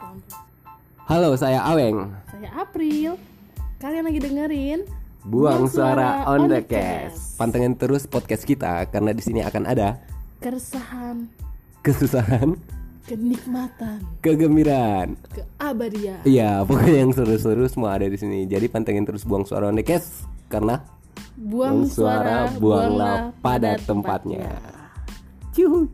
ampun. Halo, saya Aweng. Saya April. Kalian lagi dengerin Buang Buang suara suara on on the the cast. cast. Pantengin terus podcast kita karena di sini akan ada keresahan, kesusahan, kenikmatan, kegembiraan. keabadian. Iya, pokoknya yang seru-seru semua ada di sini. Jadi pantengin terus buang suara on the cast karena Buang, suara, buanglah pada tempatnya. Cuy.